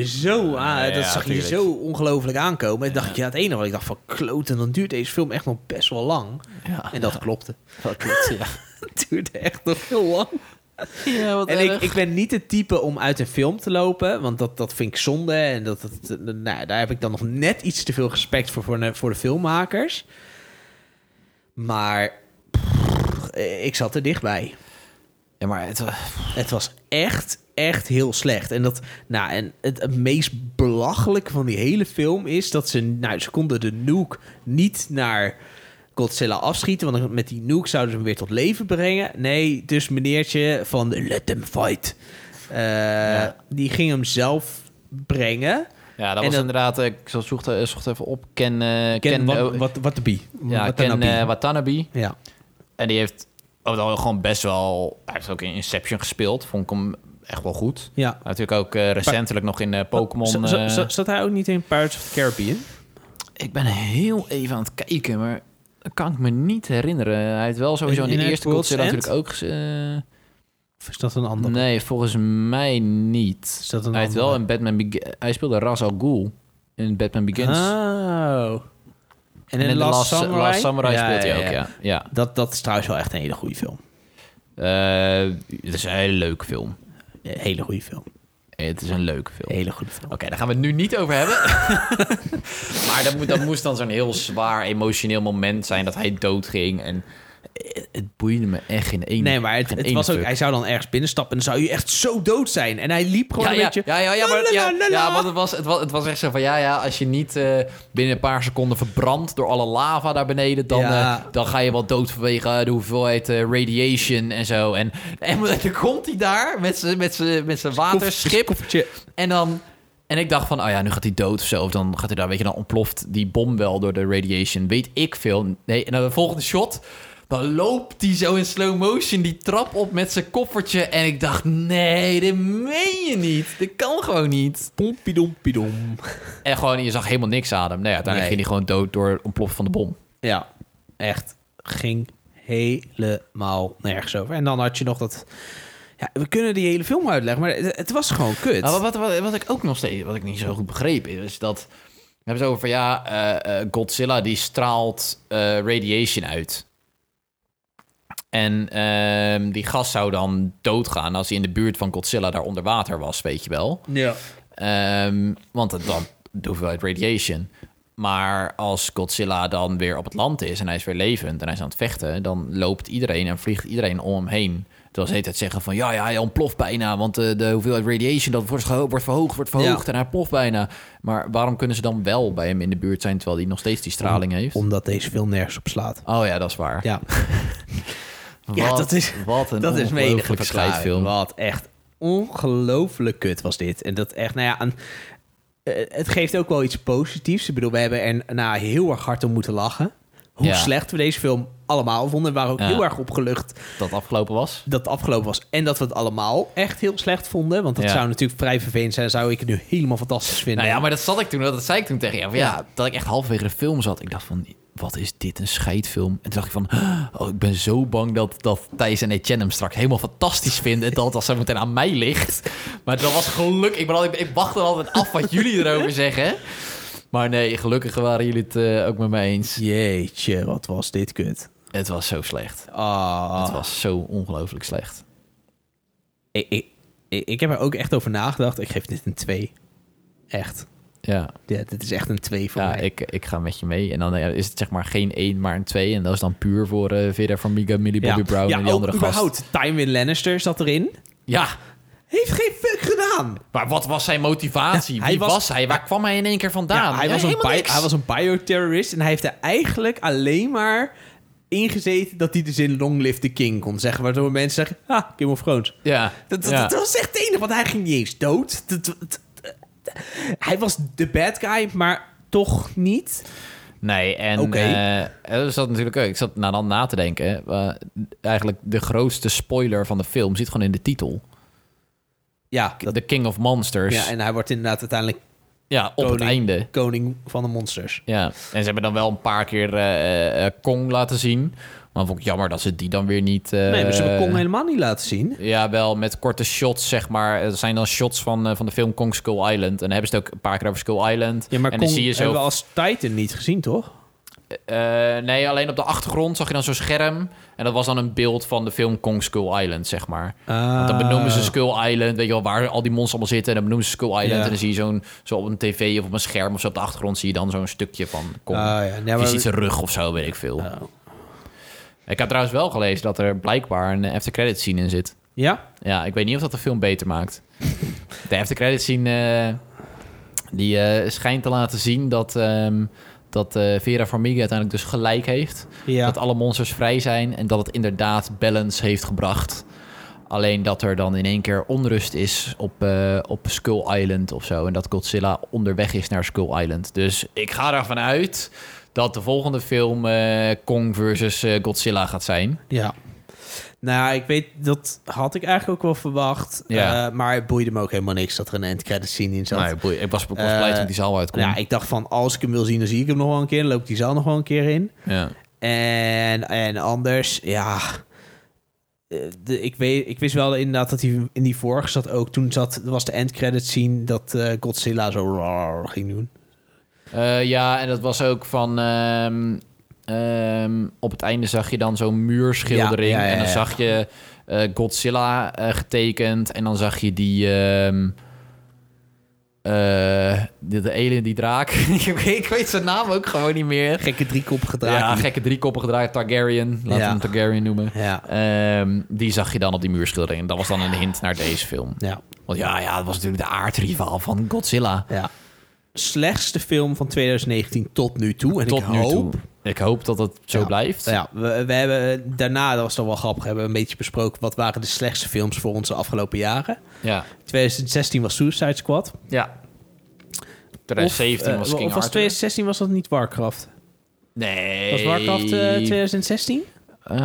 H: zo aan.
A: Ja,
H: dat zag
A: tuurlijk.
H: je zo ongelooflijk aankomen. En dacht ik, ja, het enige wat ik dacht van, kloten, dan duurt deze film echt nog best wel lang.
A: Ja.
H: en dat klopte.
A: Dat klopt, ja.
H: Het duurde echt nog heel lang.
A: ja wat
H: En ik,
A: erg.
H: ik ben niet het type om uit een film te lopen, want dat, dat vind ik zonde. En dat, dat, nou, daar heb ik dan nog net iets te veel respect voor, voor, de- voor de filmmakers. Maar pff, eh, ik zat er dichtbij.
A: Ja, maar het... eh,
H: Het was echt, echt heel slecht. En, dat, nou, en het, het meest belachelijke van die hele film is dat ze... Nou, ze konden de nuke niet naar Godzilla afschieten... want dan- met die nuke zouden ze hem weer tot leven brengen. Nee, dus meneertje van let them fight... eh, die ging hem zelf brengen.
A: Ja, dat
H: En
A: was
H: dat-
A: inderdaad... eh, Ik zocht, eh, zocht even op. Ken... eh,
H: Ken,
A: Ken,
H: wat,
A: oh,
H: wat, wat de bie.
A: ja,
H: Wat
A: Ken
H: dan de bie.
A: eh, Watanabe.
H: ja.
A: En die heeft oh, dan gewoon best wel... Hij heeft ook in Inception gespeeld. Vond ik hem echt wel goed.
H: Ja.
A: Maar Natuurlijk ook eh, recentelijk nog in eh, Pokémon.
H: Z- z-
A: eh,
H: z- Zat hij ook niet in Pirates of the Caribbean?
A: ik ben heel even aan het kijken, maar... dat Kan ik me niet herinneren. Hij heeft wel sowieso in,
H: In- in
A: de
H: het
A: eerste
H: World's
A: Godzilla
H: End?
A: natuurlijk ook... ges- eh,
H: Of is dat een ander?
A: Nee, volgens mij niet.
H: Is dat een
A: hij heeft wel
H: andere?
A: in Batman Beg- Hij speelde Ra's al Ghul in Batman Begins.
H: Oh. En in,
A: de
H: Last,
A: Ah, Last
H: Samurai,
A: Last speelt hij ook, ja. ja.
H: Dat, dat is trouwens wel echt een hele goede film.
A: Eh, het is een hele leuke film.
H: Een hele goede film.
A: Het is een leuke film.
H: Een hele goede film.
A: Oké, daar gaan we het nu niet over hebben. maar dat, moet, dat moest dan zo'n heel zwaar emotioneel moment zijn dat hij doodging. En het, het boeide me echt geen ene
H: Nee, maar het,
A: geen
H: het
A: ene
H: was ook,
A: fuck.
H: hij zou dan ergens binnenstappen en dan zou je echt zo dood zijn. En hij liep gewoon
A: Ja,
H: een
A: ja,
H: beetje...
A: ja, ja, ja, maar, ja,
H: lalalala.
A: ja, want het was, het, was, het was echt zo van... Ja, ja, als je niet eh, binnen een paar seconden verbrandt door alle lava daar beneden... dan,
H: Ja.
A: eh, dan ga je wel dood vanwege eh, de hoeveelheid eh, radiation en zo. En, en dan komt hij daar met zijn met z'n- met z'n waterschip.
H: Koffertje.
A: En dan... En ik dacht van, oh ja, nu gaat hij dood of zo. Of dan gaat hij daar, weet je, dan ontploft die bom wel door de radiation. Weet ik veel. Nee, en dan de volgende shot... Dan loopt hij zo in slow motion die trap op met zijn koffertje. En ik dacht, nee, dit meen je niet. Dit kan gewoon niet.
H: Pompidompidom.
A: En gewoon, je zag helemaal niks aan hem. Nee, uiteindelijk
H: Nee.
A: ging hij gewoon dood door het ontploffen van de bom.
H: Ja, echt. Ging helemaal nergens over. En dan had je nog dat... Ja, we kunnen die hele film uitleggen, maar het, het was gewoon kut.
A: Nou, wat, wat, wat ik ook nog steeds, wat ik niet zo goed begreep, is dat... We hebben het over van, ja, eh, eh, Godzilla die straalt eh, radiation uit. En ehm, die gast zou dan doodgaan als hij in de buurt van Godzilla daar onder water was, weet je wel.
H: Ja.
A: Ehm, want het, dan de hoeveelheid radiation. Maar als Godzilla dan weer op het land is en hij is weer levend en hij is aan het vechten, dan loopt iedereen en vliegt iedereen om hem heen. Terwijl ze de hele tijd zeggen van ja, ja, hij ontploft bijna. Want eh, de hoeveelheid radiation dat wordt, geho- wordt verhoogd, wordt verhoogd
H: Ja.
A: en hij ploft bijna. Maar waarom kunnen ze dan wel bij hem in de buurt zijn terwijl hij nog steeds die straling heeft?
H: Omdat deze film nergens op slaat.
A: Oh ja, dat is waar.
H: Ja.
A: wat,
H: Ja, dat is,
A: wat een
H: dat is mijn enige
A: ongelooflijke
H: verklaring.
A: scheidfilm.
H: Wat echt ongelooflijk kut was dit. En dat echt, nou ja, aan- eh, het geeft ook wel iets positiefs. Ik bedoel, we hebben er na heel erg hard om moeten lachen. Hoe
A: Ja.
H: slecht we deze film allemaal vonden. We waren ook
A: Ja.
H: heel erg opgelucht
A: Dat afgelopen was.
H: dat het afgelopen was. En dat we het allemaal echt heel slecht vonden. Want dat
A: Ja.
H: zou natuurlijk vrij vervelend zijn. Zou ik het nu helemaal fantastisch vinden.
A: Nou ja, maar dat zat ik toen, dat zei ik toen tegen jou. Van, ja. dat ik echt halverwege de film zat. Ik dacht van, wat is dit, een scheidfilm? En toen dacht ik van, oh, ik ben zo bang dat, dat Thijs en Etienne hem straks helemaal fantastisch vinden. En dat dat zo meteen aan mij ligt. Maar dat was gelukkig. Ik, ben altijd, ik wachtte altijd af wat jullie erover zeggen. Maar nee, gelukkig waren jullie het eh, ook met mij eens.
H: Jeetje, wat was dit kut.
A: Het was zo slecht.
H: Ah.
A: Het was zo ongelooflijk slecht.
H: Ik, ik, ik ik heb er ook echt over nagedacht. Ik geef dit een 2. Echt.
A: Ja,
H: Ja, dit is echt een 2 voor
A: ja
H: mij.
A: ik, ik ga met je mee. En dan eh, is het zeg maar geen één, maar een twee. En dat is dan puur voor eh Vera Farmiga, Millie Bobby Brown en die
H: ook
A: andere gast.
H: oh, überhaupt. Tywin Lannister zat erin.
A: Ja,
H: Heeft geen fuck gedaan.
A: Maar wat was zijn motivatie?
H: Ja,
A: Wie
H: hij
A: was,
H: was-
A: hij? Waar kwam hij in één keer vandaan?
H: hij, was een
A: helemaal
H: bi-
A: niks.
H: hij was een bioterrorist en hij heeft er eigenlijk alleen maar ingezeten dat hij dus in Long Live the King kon zeggen. Waardoor mensen zeggen, ah, Game of Thrones.
A: Ja.
H: Dat, dat,
A: ja.
H: dat was echt het enige, want hij ging niet eens dood. Dat- dat- dat- dat- hij was de bad guy, maar toch niet.
A: Nee, en
H: Oké.
A: eh, er zat natuurlijk ook. Ik zat na, dan na te denken. hè. Maar eigenlijk de grootste spoiler van de film zit gewoon in de titel:
H: Ja,
A: The King of Monsters.
H: ja,
A: Ja,
H: en hij wordt inderdaad uiteindelijk
A: op
H: koning,
A: het einde.
H: koning van de monsters.
A: Ja. En ze hebben dan wel een paar keer eh, eh, Kong laten zien. Maar vond ik jammer dat ze die dan weer niet. eh,
H: nee, maar ze hebben Kong helemaal niet laten zien.
A: Ja, wel met korte shots, zeg maar. Er zijn dan shots van, eh, van de film Kong Skull Island. En dan hebben ze het ook een paar keer over Skull Island.
H: Ja, maar
A: en
H: Kong
A: dan zie je zo.
H: hebben we als Titan niet gezien, toch?
A: Eh, nee, alleen op de achtergrond zag je dan zo'n scherm. En dat was dan een beeld van de film Kong Skull Island, zeg maar. Want dan benoemen ze Skull Island, weet je wel, waar al die monsters allemaal zitten. En dan benoemen ze Skull Island.
H: Ah. Ja.
A: En dan zie je zo'n, zo op een tv of op een scherm of zo op de achtergrond zie je dan zo'n stukje van Kong.
H: Ah, ja. Nee,
A: Of
H: maar- Oh.
A: je ziet zijn rug of zo, weet ik veel. Ik heb trouwens wel gelezen dat er blijkbaar een after credit scene in zit.
H: Ja?
A: Ja, ik weet niet of dat de film beter maakt. de after credits scene eh, die eh, schijnt te laten zien dat, ehm, dat eh, Vera Farmiga uiteindelijk dus gelijk heeft.
H: Ja.
A: Dat alle monsters vrij zijn en dat het inderdaad balance heeft gebracht. Alleen dat er dan in één keer onrust is op, eh, op Skull Island of zo. En dat Godzilla onderweg is naar Skull Island. Dus ik ga ervan uit dat de volgende film eh, Kong versus eh, Godzilla gaat zijn.
H: Ja. Nou, ik weet, dat had ik eigenlijk ook wel verwacht.
A: Ja.
H: Eh, maar het boeide me ook helemaal niks dat er een endcredit scene in zat.
A: Nou, ik boei- ik was, ik was blij toen die zaal uitkwam.
H: Nou ja, ik dacht van, als ik hem wil zien, dan zie ik hem nog wel een keer. Dan loopt die zaal nog wel een keer in.
A: ja.
H: En, en anders, ja... Eh, De, ik, weet, ik wist wel inderdaad dat hij in die vorige zat ook. Toen zat, was de endcredit scene dat eh, Godzilla zo raar ging doen.
A: Eh, ja, en dat was ook van. ehm, ehm, op het einde zag je dan zo'n muurschildering.
H: Ja, ja, ja,
A: En dan
H: ja.
A: zag je eh, Godzilla eh, getekend. En dan zag je die. ehm, eh, de, de alien, die draak. ik, weet, ik weet zijn naam ook gewoon niet meer.
H: Gekke driekop gedragen.
A: Ja, gekke driekoppige gedraaid Targaryen. Laten
H: Ja.
A: we hem Targaryen noemen.
H: Ja.
A: Ehm, die zag je dan op die muurschildering. En dat was dan een hint naar deze film.
H: Ja.
A: Want ja, ja, dat was natuurlijk de aardrivaal van Godzilla.
H: Ja. Slechtste film van 2019 tot nu toe. En
A: Tot
H: ik
A: nu
H: hoop,
A: toe. Ik hoop dat dat zo
H: Ja.
A: blijft.
H: Ja, we, we hebben daarna, dat was dan wel grappig, hebben we een beetje besproken wat waren de slechtste films voor ons de afgelopen jaren.
A: Ja.
H: 2016 was Suicide Squad.
A: Ja.
H: Of,
A: 2017
H: eh,
A: was King
H: Of was
A: Arthur.
H: 2016 was dat niet Warcraft?
A: Nee.
H: Was Warcraft eh, 2016?
A: Eh,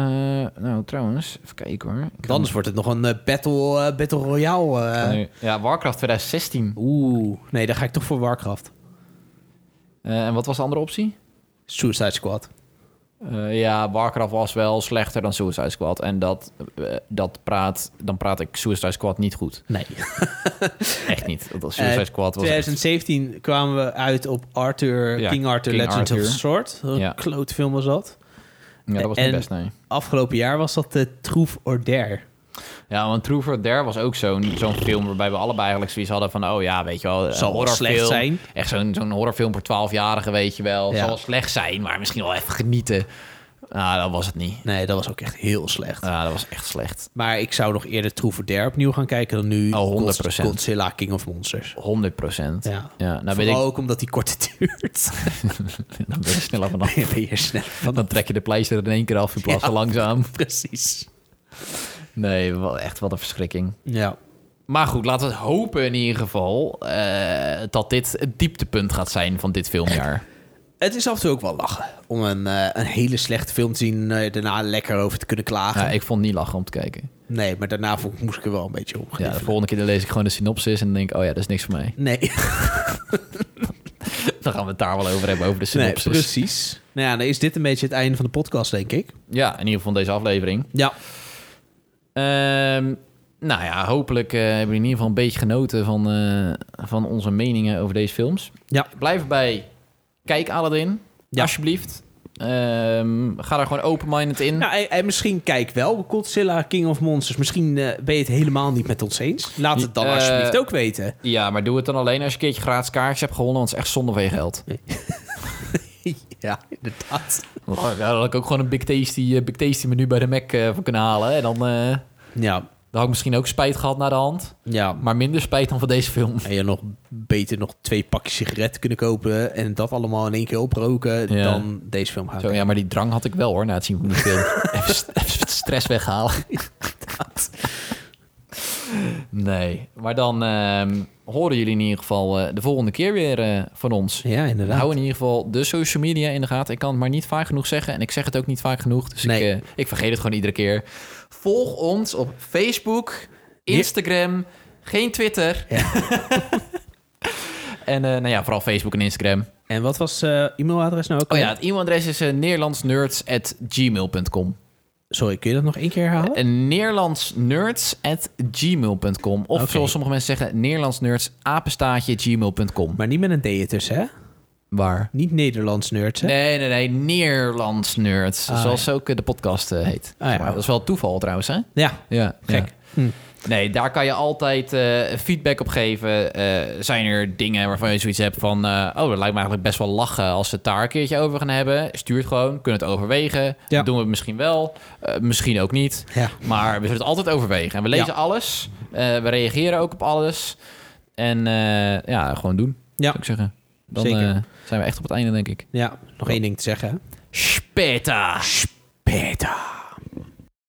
A: nou, trouwens. Even kijken hoor. Ik kan-
H: Anders wordt het nog een eh, battle, eh, battle Royale. eh.
A: Nee. Ja, Warcraft 2016.
H: Oeh, nee, dan ga ik toch voor Warcraft.
A: Eh, en wat was de andere optie?
H: Suicide Squad.
A: Eh, ja, Warcraft was wel slechter dan Suicide Squad. En dat, eh, dat praat... Dan praat ik Suicide Squad niet goed.
H: Nee.
A: Echt niet. Dat was
H: Eh,
A: Suicide Squad was... echt-
H: 2017 kwamen we uit op Arthur,
A: Ja,
H: King Arthur,
A: King
H: Legends of
A: Arthur.
H: the Sword. Een
A: Ja.
H: kloot film was dat.
A: Ja, dat was niet
H: en-
A: best, nee.
H: Afgelopen jaar was dat de Troef or Dare.
A: Ja, want True for Dare was ook zo'n zo'n film waarbij we allebei eigenlijk zoiets hadden van... oh ja, weet je wel, een
H: Zal wel
A: horrorfilm.
H: slecht zijn.
A: Echt zo'n zo'n horrorfilm voor 12-jarigen, weet je wel.
H: Ja.
A: Zal wel slecht zijn, maar misschien wel even genieten. Nou, dat was het niet.
H: Nee, dat was ook echt heel slecht.
A: Nou, dat was echt slecht.
H: Maar ik zou nog eerder Troef or Dare opnieuw gaan kijken dan nu
A: Oh, 100%.
H: Godzilla King of Monsters.
A: 100 procent.
H: Ja.
A: nou ben ik,
H: Vooral ook omdat die korter duurt.
A: dan ben ik sneller vanaf.
H: Dan ben je snel van
A: Dan trek je de pleister er in één keer af in plaats van
H: Ja.
A: langzaam.
H: precies.
A: Nee, wel echt wat een verschrikking.
H: Ja.
A: Maar goed, laten we het hopen in ieder geval... eh, dat dit het dieptepunt gaat zijn van dit filmjaar.
H: Het is af en toe ook wel lachen om een, eh, een hele slechte film te zien... eh, daarna lekker over te kunnen klagen.
A: Ja, ik vond het niet lachen om te kijken.
H: Nee, maar daarna vo- moest ik er wel een beetje om.
A: Ja, de volgende keer dan lees ik gewoon de synopsis en dan denk ik, oh ja, dat is niks voor mij.
H: Nee,
A: Dan gaan we het daar wel over hebben, over de
H: nee
A: synopsis.
H: precies. Nou ja, dan is dit een beetje het einde van de podcast, denk ik.
A: Ja, in ieder geval deze aflevering.
H: Ja.
A: Ehm, nou ja, hopelijk eh, hebben jullie in ieder geval een beetje genoten van, eh, van onze meningen over deze films.
H: Ja.
A: Blijf bij Kijk Aladdin,
H: Ja.
A: alsjeblieft. Ehm, ga daar gewoon open-minded in.
H: Nou, en, en misschien kijk wel Godzilla, King of Monsters. Misschien eh, ben je het helemaal niet met ons eens. Laat het dan
A: Eh,
H: alsjeblieft ook weten.
A: Ja, maar doe het dan alleen als je een keertje gratis kaartjes hebt gewonnen, want het is echt zonde van je geld.
H: Ja, inderdaad.
A: Ja, dan had ik ook gewoon een Big Tasty, eh, Big Tasty menu bij de Mac eh, van kunnen halen hè, en dan... eh,
H: Ja.
A: had ik misschien ook spijt gehad naar de hand.
H: Ja.
A: Maar minder spijt dan van deze film.
H: En je nog beter nog twee pakjes sigaretten kunnen kopen en dat allemaal in één keer oproken
A: Ja.
H: dan deze film gaan.
A: Zo, ja, maar die drang had ik wel hoor, na het zien van die film. even, st- even het stress weghalen. nee, maar dan ehm, horen jullie in ieder geval eh, de volgende keer weer eh, van ons.
H: Ja, inderdaad.
A: Hou in ieder geval de social media in de gaten. Ik kan het maar niet vaak genoeg zeggen. En ik zeg het ook niet vaak genoeg. Dus
H: Nee.
A: ik, eh, ik vergeet het gewoon iedere keer. Volg ons op Facebook, Instagram, geen Twitter. en eh, nou ja, vooral Facebook en Instagram.
H: En wat was eh e-mailadres nou ook?
A: Oh ja,
H: alweer?
A: het e-mailadres is eh, neerlandsnerds.gmail.com.
H: Sorry, kun je dat nog één keer herhalen?
A: En neerlandsnerds.gmail.com. Of
H: Oké.
A: zoals sommige mensen zeggen, neerlandsnerds, apenstaatje, gmail.com.
H: Maar niet met een D ertussen, hè?
A: Waar?
H: Niet Nederlands nerds, hè?
A: Nee, nee, nee, Neerlandsnerds.
H: Ah,
A: zoals ook eh, de podcast eh, heet.
H: Ah, ja.
A: Maar dat is wel toeval trouwens, hè?
H: Ja,
A: Ja,
H: Gek.
A: ja. Nee, daar kan je altijd eh, feedback op geven. Eh, zijn er dingen waarvan je zoiets hebt van... eh, oh, dat lijkt me eigenlijk best wel lachen als we het daar een keertje over gaan hebben. Stuur het gewoon, kunnen het overwegen.
H: Ja.
A: Doen we het misschien wel, eh, misschien ook niet.
H: Ja.
A: Maar we zullen het altijd overwegen. En we lezen
H: Ja.
A: alles. eh, we reageren ook op alles. En eh, ja, gewoon doen,
H: Ja.
A: zou ik zeggen. Dan
H: Zeker.
A: eh, zijn we echt op het einde, denk ik.
H: ja nog één ding te zeggen.
A: Speta. Speta.